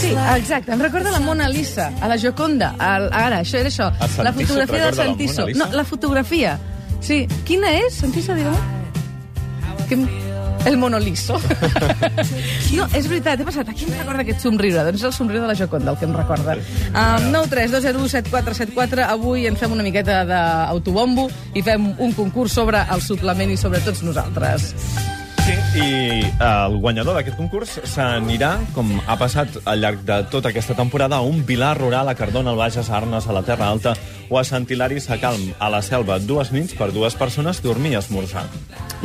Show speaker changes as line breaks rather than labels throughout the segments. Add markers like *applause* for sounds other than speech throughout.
Sí, exacte. Em recorda la Mona Lisa, a la Gioconda. El, ara, això era això.
El Santiso
la
et
fotografia del
recorda la Mona
Santiso.
Lisa?
No, la fotografia. Sí. Quina és? Santiso, digue-me. Que... em- El monoliso.
*laughs*
no, és veritat, he passat. A qui em recorda aquest somriure? Doncs és el somriure de la Joconda, el que em recorda. Um, 9 3 2 0 7 4 7 4. Avui ens fem una miqueta d'autobombo i fem un concurs sobre el suplement i sobre tots nosaltres.
Sí, i eh, el guanyador d'aquest concurs s'anirà, com ha passat al llarg de tota aquesta temporada, a un vilar rural a Cardona, al Bages, a Arnes, a la Terra Alta o a Sant Hilari Sacalm, a la selva, dues nits per dues persones dormir i esmorzar.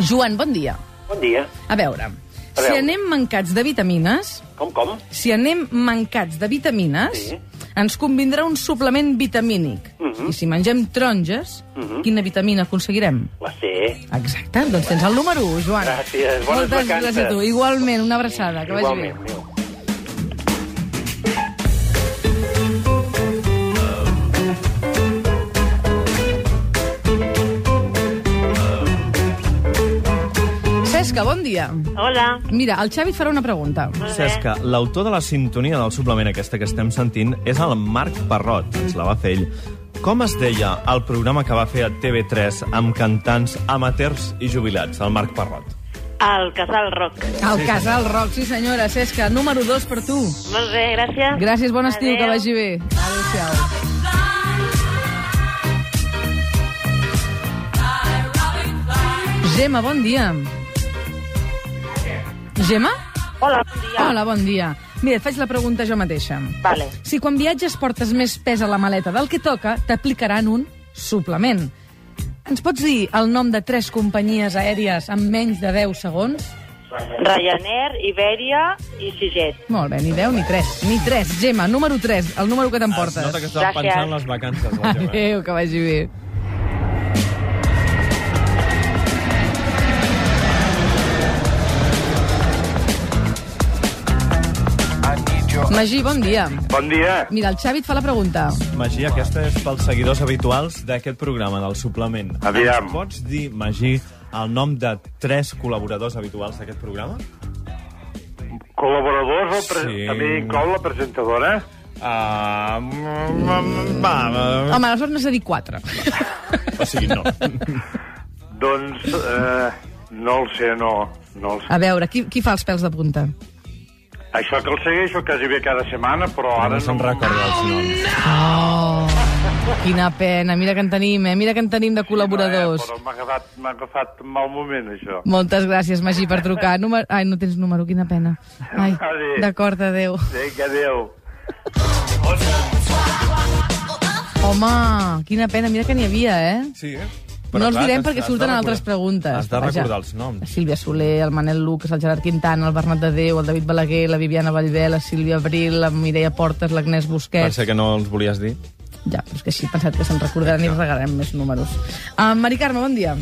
Joan, bon dia.
Bon dia.
A veure,
A
si
veure.
anem mancats de vitamines,
Com, com?
si anem mancats de vitamines,
Sí. Mhm.
ens convindrà un suplement vitamínic. I si mengem taronges, quina vitamina aconseguirem?
La C.
Exacte, doncs tens el número 1, Joan.
Gràcies, bones
Moltes
vacances.
gràcies a tu. Igualment, una abraçada, que vagi bé.
Igualment, adéu.
Cesca, bon dia.
Hola.
Mira, el Xavi et farà una pregunta.
Molt bé.
Cesca, l'autor de la sintonia del suplement aquesta que estem sentint és el Marc Parrot, ens la va fer ell. Com es deia el programa que va fer a TV3 amb cantants amateurs i jubilats, el Marc Parrot?
Al Casal Roc.
Al Casal Roc, sí senyora, Cesca, número 2 per tu.
Molt bé, gràcies.
Gràcies, bon estiu,
Adéu.
que vagi bé. Adéu-siau. Gemma, bon dia. Gemma?
Hola, bon dia.
Hola, bon dia. Mira, et faig la pregunta jo mateixa.
Vale.
Si quan viatges portes més pes a la maleta del que toca, t'aplicaran un suplement. Ens pots dir el nom de tres companyies aèries en menys de 10 segons?
Ryanair, Iberia i Siget.
Molt bé, ni 10 ni 3. Ni 3, Gemma, número 3, el número que
Ah, Es nota que
t'emportes.
estava
Gràcies.
pensant en les vacances. La Gemma.
Adéu, que vagi bé. Magí, bon dia.
Bon dia.
Mira, el Xavi et fa la pregunta.
Magí, aquesta és pels seguidors habituals d'aquest programa, del suplement.
Aviam.
Ens pots dir, Magí, el nom de tres col·laboradors habituals d'aquest programa?
Col·laboradors, el pre...
Sí.
sí. també inclou la presentadora?
Uh, va,
Home, aleshores n'has de dir 4.
o sigui, no.
Doncs eh, no el sé, no. no el sé.
A veure, qui, qui fa els pèls de punta? Ah.
Això que el segueixo quasi bé cada setmana, però
Ara
ara
no se'n recorda els noms.
Oh, quina pena. Mira que en tenim, eh? Mira que en tenim de
Eh,
col·laboradors.
però m'ha agafat, m'ha agafat un mal moment, això.
Moltes gràcies, Magí, per trucar. Número... Ai, no tens número, quina pena. Ai,
Adéu.
d'acord, adéu.
Vinga, adéu.
Home, quina pena, mira que n'hi havia, eh?
Sí,
no els direm perquè surten altres preguntes.
Has de
Vaja.
recordar els noms.
Sílvia Soler, el Manel Lucas, el Gerard Quintana, el Bernat de Déu, el David Balaguer, la Viviana Vallvé, la Sílvia Abril, la Mireia Portes, l'Agnès Busquets...
Pensa que no els volies dir.
Ja, però és que així he pensat que se'n recordaran i regalarem més números. Uh, Mari Carme, bon dia.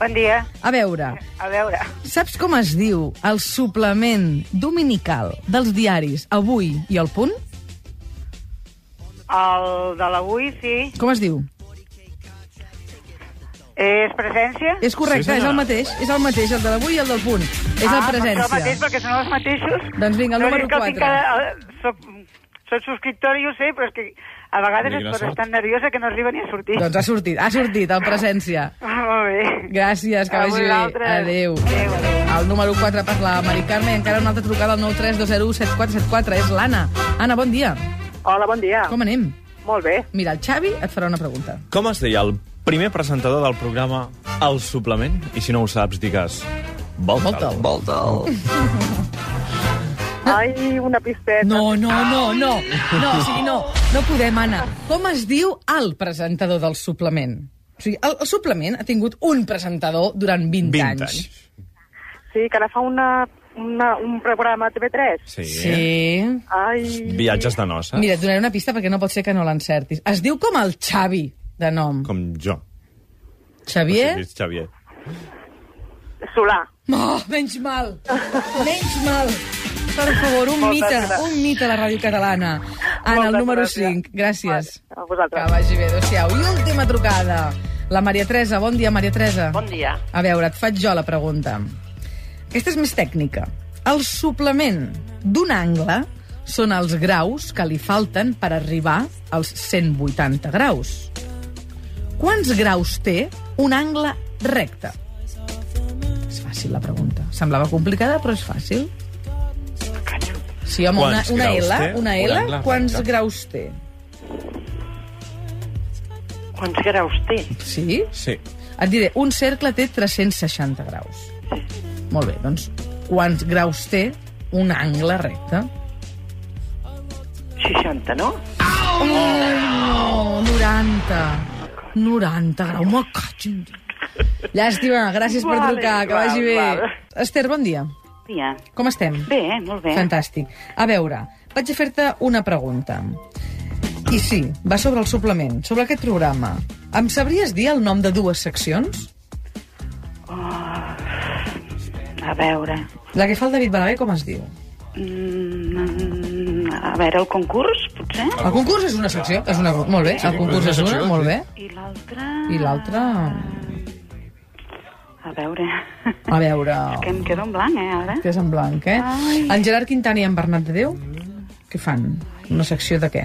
Bon dia.
A veure,
A veure,
saps com es diu el suplement dominical dels diaris Avui i El Punt?
el de l'avui, sí.
Com es diu?
És presència?
És correcte, sí,
Sí,
és
senyora.
el mateix. És el mateix, el de l'Avui i el del Punt. És la
Ah, però el mateix,
presència.
perquè són els mateixos.
Doncs vinga, el
No,
número
és que tinc
4.
Cada... eh, Soc, soc subscriptor i ho sé, però és que a vegades
Mira,
es posa
sort.
tan nerviosa que no arriba ni a sortir.
Doncs ha sortit, ha sortit, el presència.
Ah, Molt bé.
Gràcies, que
A
vagi bé.
vosaltres.
Adéu.
Adéu, adéu.
El número 4 per la Mari Carme i encara una altra trucada al 932017474. És l'Anna. Anna, bon dia.
Hola, bon dia.
Com anem?
Molt bé.
Mira, el Xavi et farà una pregunta.
Com es deia el primer presentador del programa El Suplement? I si no ho saps, digues... Volta'l.
Volta'l.
Volta'l.
Ai, una pisteta.
No, no, no, no. No, o sigui, no. No podem, Anna. Com es diu el presentador del suplement? O sigui, el, el suplement ha tingut un presentador durant 20,
20
anys.
anys.
Sí, que ara fa una, una, un programa TV3.
Sí.
Sí.
Ai,
Viatges de noces.
Mira, et donaré una pista perquè no pot ser que no l'encertis. Es diu com el Xavi, de nom.
Com jo.
Xavier?
Sí, Xavier.
Solà.
Oh, menys mal, menys mal. Per favor, un
Moltes
mite,
gràcies.
un mite a la ràdio catalana. Anna, el
Moltes
número
gràcies.
5. Gràcies.
Vale, a vosaltres.
Que vagi bé, adéu-siau. I última trucada. La Maria Teresa. Bon dia, Maria Teresa.
Bon dia.
A veure, et faig jo la pregunta. Aquesta és més tècnica. El suplement d'un angle són els graus que li falten per arribar als 180 graus. Quants graus té un angle recte? És fàcil, la pregunta. Semblava complicada, però és fàcil. Sí, home, una,
Quants
una
graus
L,
té
una
un
L,
angle
quants
recte?
graus té?
Quants graus té?
Sí?
Sí.
Et diré, un cercle té 360 graus. Molt bé, doncs, quants graus té un angle recte?
60, no?
Oh, 90. 90 graus, me caig en Déu. Llàstima, gràcies per
Vale,
trucar, que vagi
val,
bé.
val.
Esther, bon dia.
Ja.
Com estem?
Bé, eh? molt bé.
Fantàstic. A veure, vaig a fer-te una pregunta. I sí, va sobre el suplement, sobre aquest programa. Em sabries dir el nom de dues seccions?
A veure...
La que fa el David Balaguer, com es diu?
Mm, a veure, el concurs, potser?
El concurs és una secció, és una... Molt bé, el concurs és una, molt bé.
I l'altre...
I l'altra...
A veure...
A
*laughs*
veure...
Que em quedo en blanc, eh, ara?
Que és en blanc, eh?
Ai.
En Gerard Quintana i en Bernat de Déu, què fan? Una secció de què?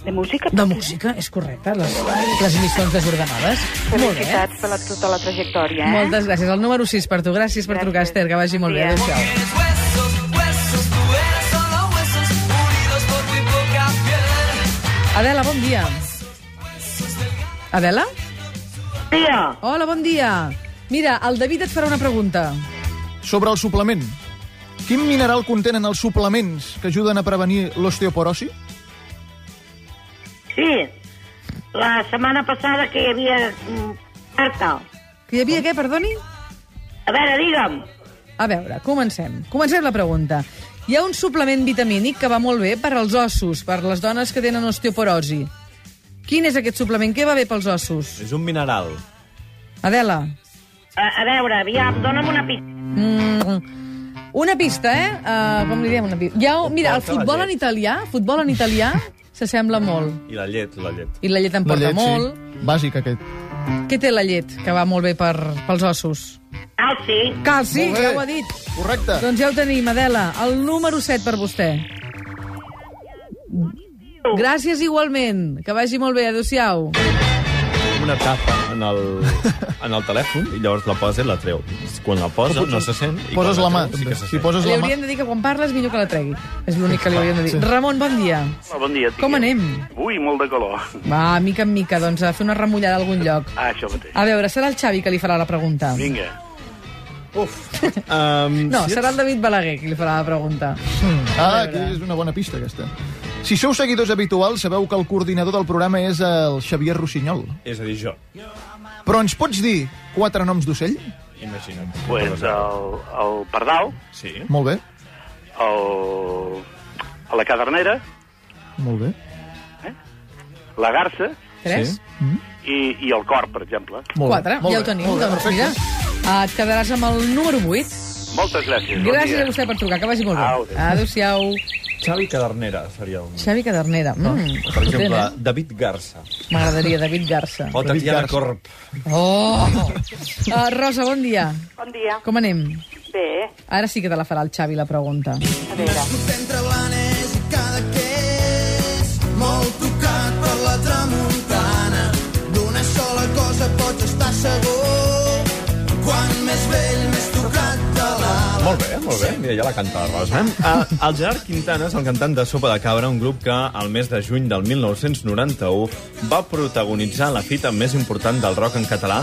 De música?
De música, és correcte, les, les emissions desordenades. Molt bé.
Felicitats per la, tota la trajectòria, eh?
Moltes gràcies. El número 6 per tu. Gràcies per trucar,
Gràcies.
Esther. Que vagi molt bé.
Bon dia.
Adéu-siau.
Huesos, huesos, tú eres solo huesos, unidos por muy poca piel.
Adela, bon dia. Adela?
Tia!
Hola, bon dia. Mira, el David et farà una pregunta.
Sobre el suplement. Quin mineral contenen els suplements que ajuden a prevenir l'osteoporosi?
Sí, la setmana passada que hi havia... mm, Marta,
Que hi havia què, perdoni?
a veure, digue'm.
A veure, comencem. Comencem la pregunta. Hi ha un suplement vitamínic que va molt bé per als ossos, per les dones que tenen osteoporosi. Quin és aquest suplement? Què va bé pels ossos?
És un mineral.
Adela?
A, a veure, aviam, dóna'm una pista.
Mm. Una pista, eh? Uh, com li diem una pista? Ja, mira, el futbol en italià, futbol en italià, s'assembla molt.
I la llet, la llet.
I la llet en porta molt.
Sí. Bàsic, aquest.
Què té la llet, que va molt bé per, pels ossos?
Ah, sí.
Calci,
Molt bé.
ja ho ha dit.
Correcte.
Doncs ja ho tenim, Adela. El número 7 per vostè. Gràcies igualment. Que vagi molt bé. Adéu-siau.
Una tapa en el, en el telèfon i llavors la posa i la treu. Quan la posa no se sent. I
Poses
quan
la mà,
treu
també.
Sí que
Si
se sent.
poses
Li
la mà...
haurien de dir que quan parles millor que la tregui. És l'únic que li haurien de dir. Ramon, bon dia.
Hola, bon dia, tia.
Com anem?
Ui, molt de calor.
Va, mica en mica, doncs, a fer una remullada a algun lloc.
Ah, això mateix.
A veure, serà el Xavi que li farà la pregunta.
Vinga.
Um,
No,
si ets-
serà el David Balaguer qui li farà la pregunta.
Ah, aquí és una bona pista, aquesta. Si sou seguidors habituals, sabeu que el coordinador del programa és el Xavier Rossinyol.
És a dir, jo.
Però ens pots dir quatre noms d'ocell?
Imagina't.
Pues el, el pardal,
Sí.
Molt bé,
el, la cadernera,
molt bé.
la garça
Tres?
Sí.
i, i el cor, per exemple.
Molt
Quatre,
bé. Molt
ja ho
bé,
tenim.
molt bé,
doncs mira,
perfecte.
eh, et quedaràs amb el número 8.
Moltes gràcies.
Gràcies a
bon dia.
vostè per trucar, que vagi molt
Au,
bé.
adéu.
Adéu-siau.
Xavi Cadernera seria un...
Xavi Cadernera. Mm,
Per exemple,
potent,
David Garza.
eh? M'agradaria David Garza.
O Tatiana Corp.
Oh! Uh, Rosa, bon dia.
Bon dia.
Com anem?
Bé,
Ara sí que te la farà el Xavi, la pregunta.
a veure...
Entre blanes i cada que és molt tocat per la tramuntana. D'una sola cosa pots estar segur. Quan més vell, més tocat de l'ala.
Molt bé, molt bé. Mira, ja la canta la Rosa. Eh? El Gerard Quintana és el cantant de Sopa de Cabra, un grup que al mes de juny del 1991 va protagonitzar la fita més important del rock en català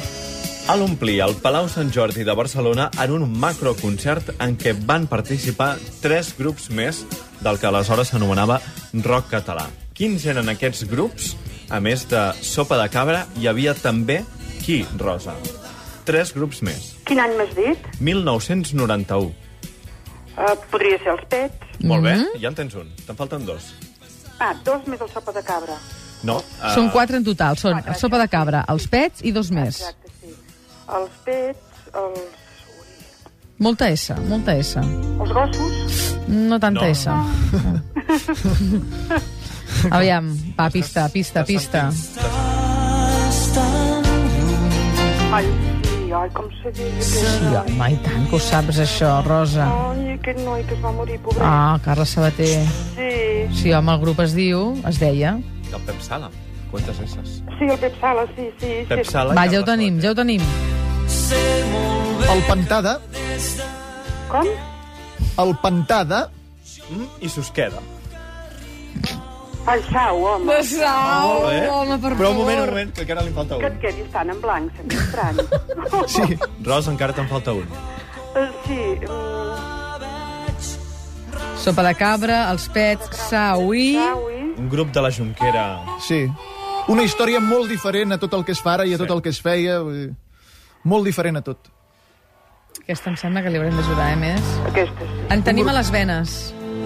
a l'omplir el Palau Sant Jordi de Barcelona en un macroconcert en què van participar tres grups més del que aleshores s'anomenava rock català. Quins eren aquests grups? A més de Sopa de Cabra, hi havia també qui, Rosa? Tres grups més.
Quin any m'has dit?
1991.
Uh, podria ser els pets.
Molt bé,
Mm-hmm.
ja en tens un. Te'n falten dos.
Ah, dos més el sopa de cabra.
No,
Ah.
eh,
Són quatre en total. Són sopa de cabra, els pets i dos més.
Exacte, sí. Els pets, els...
Molta S, molta S.
Els gossos?
No tanta
No.
*laughs*
S. Aviam, va, pista, pista, pista.
Ai, sí, ai, com se diu?
Sí, home, i tant que ho saps, això, Rosa.
Ai, aquest noi que es va morir, pobret.
Ah, Carles Sabater.
Sí,
Sí, home, el grup es diu, es deia...
El Pep Sala. Quantes esses?
sí, el Pep Sala, sí, sí.
Pep
sí.
Sala... i
Va, ja ho
Carles
tenim, ja ho tenim.
El Pantada,
Com?
el Pantada,
Sabater. Mm, I Susqueda.
El Xau, home.
Sau,
Ah, Molt bé.
home, per
Però un moment, un
favor.
moment, que encara li en falta
Que et
un.
quedis tan en blanc, se'n
*laughs*
estrany.
sí,
Ros, encara te'n falta un.
Eh, sí, mm,
Sopa de cabra, els pets, saui...
Xau i...
Un grup de la Junquera.
sí. Una història molt diferent a tot el que es fa ara i a tot el que es feia. Vull dir, molt diferent a tot.
Aquesta em sembla que li haurem d'ajudar, eh, més.
Aquesta sí.
En tenim a les venes.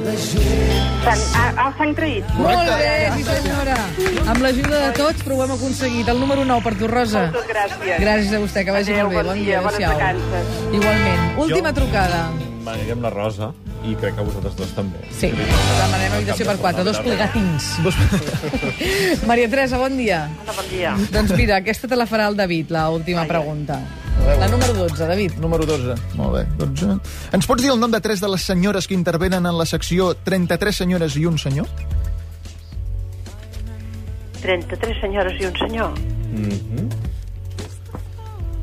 S'han ah, ah, s'han traït.
Molt bé, sí senyora. Amb l'ajuda de tots, però ho hem aconseguit. El número 9 per tu, Rosa.
Moltes gràcies.
Gràcies a vostè, que vagi
Adéu,
molt bé.
bon dia, bones
adéu-siau.
vacances.
Igualment. Última trucada.
Manirem la Rosa, i crec que vosaltres dos també.
Sí, demanem habitació per quatre, dos plegatins. *laughs* Maria Teresa, bon dia.
Hola, bon dia.
Doncs mira, aquesta te la farà el David, la última pregunta. La número 12, David.
Número 12. Molt bé, 12. Ens pots dir el nom de tres de les senyores que intervenen en la secció 33 senyores i un senyor?
33 senyores i un senyor.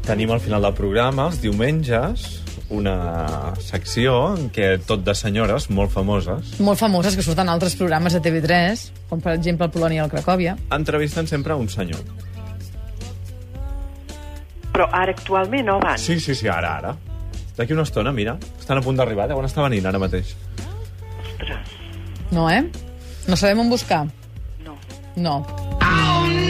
Tenim al final del programa, els diumenges, una secció en què tot de senyores molt famoses
Molt famoses que surten a altres programes de TV3, com per exemple el Polònia i el Cracòvia.
entrevisten sempre un senyor.
Però ara actualment no van.
Sí, sí, sí, ara, ara. D'aquí una estona, mira, estan a punt d'arribar, deuen estar venint ara mateix.
No, eh? No sabem on buscar.
No.
No.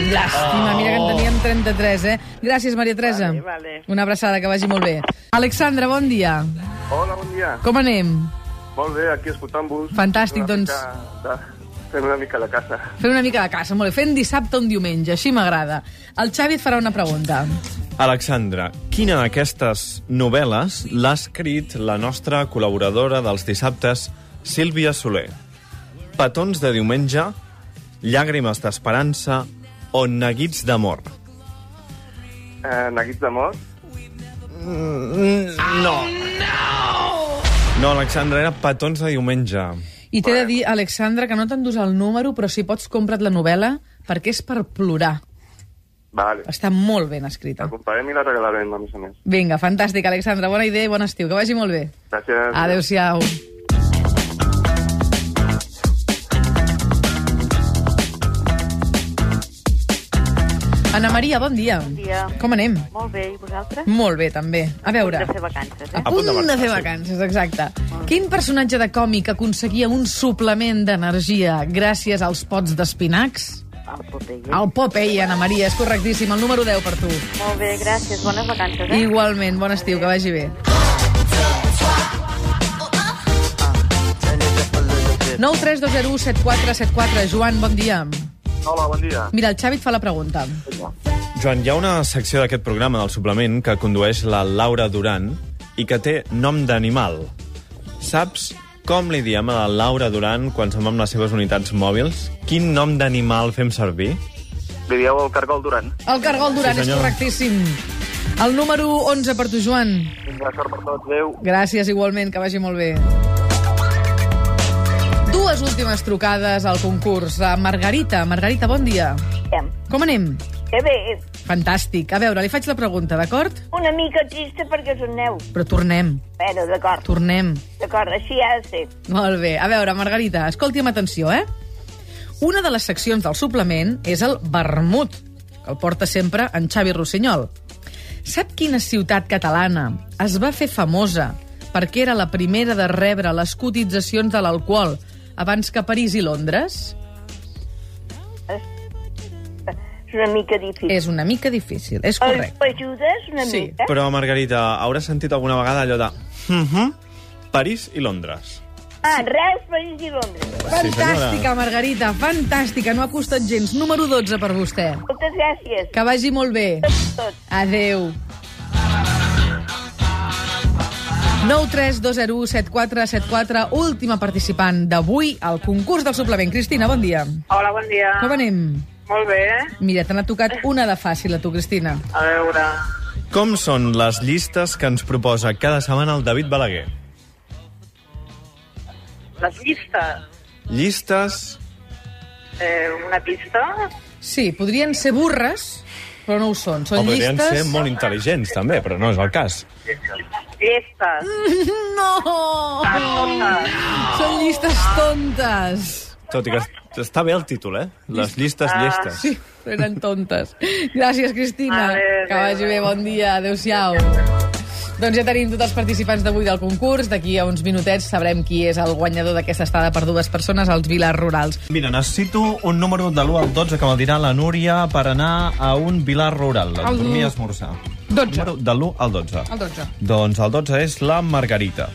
Llàstima, mira que en teníem 33, eh? Gràcies, Maria Teresa.
Vale, vale.
Una abraçada, que vagi molt bé. Alexandra, bon dia.
Hola, bon dia.
Com anem?
Molt bé, aquí escoltant-vos.
Fantàstic,
Una
doncs.
mica de- Fent una mica la casa.
Fent una mica de casa, molt bé. Fent dissabte un diumenge, així m'agrada. El Xavi et farà una pregunta.
Alexandra, quina d'aquestes novel·les l'ha escrit la nostra col·laboradora dels dissabtes, Sílvia Soler? Petons de diumenge, Llàgrimes d'esperança o Neguits d'amor?
Eh, Neguits d'amor.
No. No, Alexandra, era petons de diumenge.
I t'he de dir, Alexandra, que no t'endús el número, però si pots compra't la novel·la, perquè és per plorar.
Vale.
Està molt ben escrita.
La comprarem i la regalarem, a més a més.
Vinga, fantàstic, Alexandra. Bona idea i bon estiu. Que vagi molt bé.
Gràcies.
Adéu-siau. Anna Maria, bon dia. Bon
dia.
Com anem?
Molt bé, i vosaltres?
Molt bé, també. A veure...
De fer vacances,
A
eh?
punt de,
marxar,
fer
sí.
vacances, exacte. Quin personatge de còmic aconseguia un suplement d'energia gràcies als pots d'espinacs?
El Popeye. Eh?
El Popeye, Anna Maria, és correctíssim. El número 10 per tu.
Molt bé, gràcies. Bones vacances, eh?
Igualment, bon estiu, que vagi bé. 9 3 2 0 7 4 7 4 Joan, bon dia.
Hola, bon dia.
Mira, el Xavi et fa la pregunta.
Joan, hi ha una secció d'aquest programa del suplement que condueix la Laura Duran i que té nom d'animal. Saps com li diem a la Laura Duran quan som amb les seves unitats mòbils? Quin nom d'animal fem servir?
Li dieu el Cargol Duran.
El Cargol Duran
Sí,
és
senyor.
correctíssim. El número 11 per tu, Joan.
Vinga, sort per tots. Adéu.
Gràcies, igualment, que vagi molt bé. Dues últimes trucades al concurs. A Margarita. Margarita, bon dia. Com anem?
Que bé,
Fantàstic. A veure, li faig la pregunta, d'acord?
una mica trista perquè us en aneu.
Però tornem,
Bueno, d'acord,
tornem.
d'acord, així ha de ser.
Molt bé. A veure, Margarita, escolti amb atenció, eh? Una de les seccions del suplement és el vermut, que el porta sempre en Xavi Rossinyol. Sap quina ciutat catalana es va fer famosa perquè era la primera de rebre les cotitzacions de l'alcohol abans que París i Londres?
És una mica difícil.
És una mica difícil, és
Us
Eh, correcte.
ajudes una
Sí.
Eh?
mica?
Però, Margarita, hauràs sentit alguna vegada allò de... Mm París i Londres.
Ah, Reus, París i Londres.
Fantàstica, Margarita, fantàstica, no ha costat gens. Número 12 per vostè.
Moltes gràcies.
Que vagi molt bé.
Tots, tots.
Adeu. 932017474, última participant d'avui al concurs del suplement. Cristina, bon dia.
Hola, bon dia.
Com anem?
Molt bé. eh?
Mira, te n'ha tocat una de fàcil a tu, Cristina.
A veure...
Com són les llistes que ens proposa cada setmana el David Balaguer?
Les llistes.
Llistes...
Eh, una pista?
Sí, podrien ser burres, però no ho són.
O
Són
podrien
llistes...
ser molt intel·ligents, també, però no és el cas.
Llestes.
*laughs* No!
Ah,
Són llistes tontes.
Tot i que est- està bé el títol, eh? Les llistes llestes.
Sí, eren tontes. Gràcies, Cristina.
Adéu,
Que vagi bé, bon dia. Adéu-siau. Doncs ja tenim tots els participants d'avui del concurs. D'aquí a uns minutets sabrem qui és el guanyador d'aquesta estada per dues persones als Viles Rurals.
Mira, necessito un número de l'1 al 12 que me'l dirà la Núria per anar a un vilar rural, a
El-
dormir i esmorzar.
12.
Número de l'1 al 12.
El 12.
Doncs el 12 és la Margarita.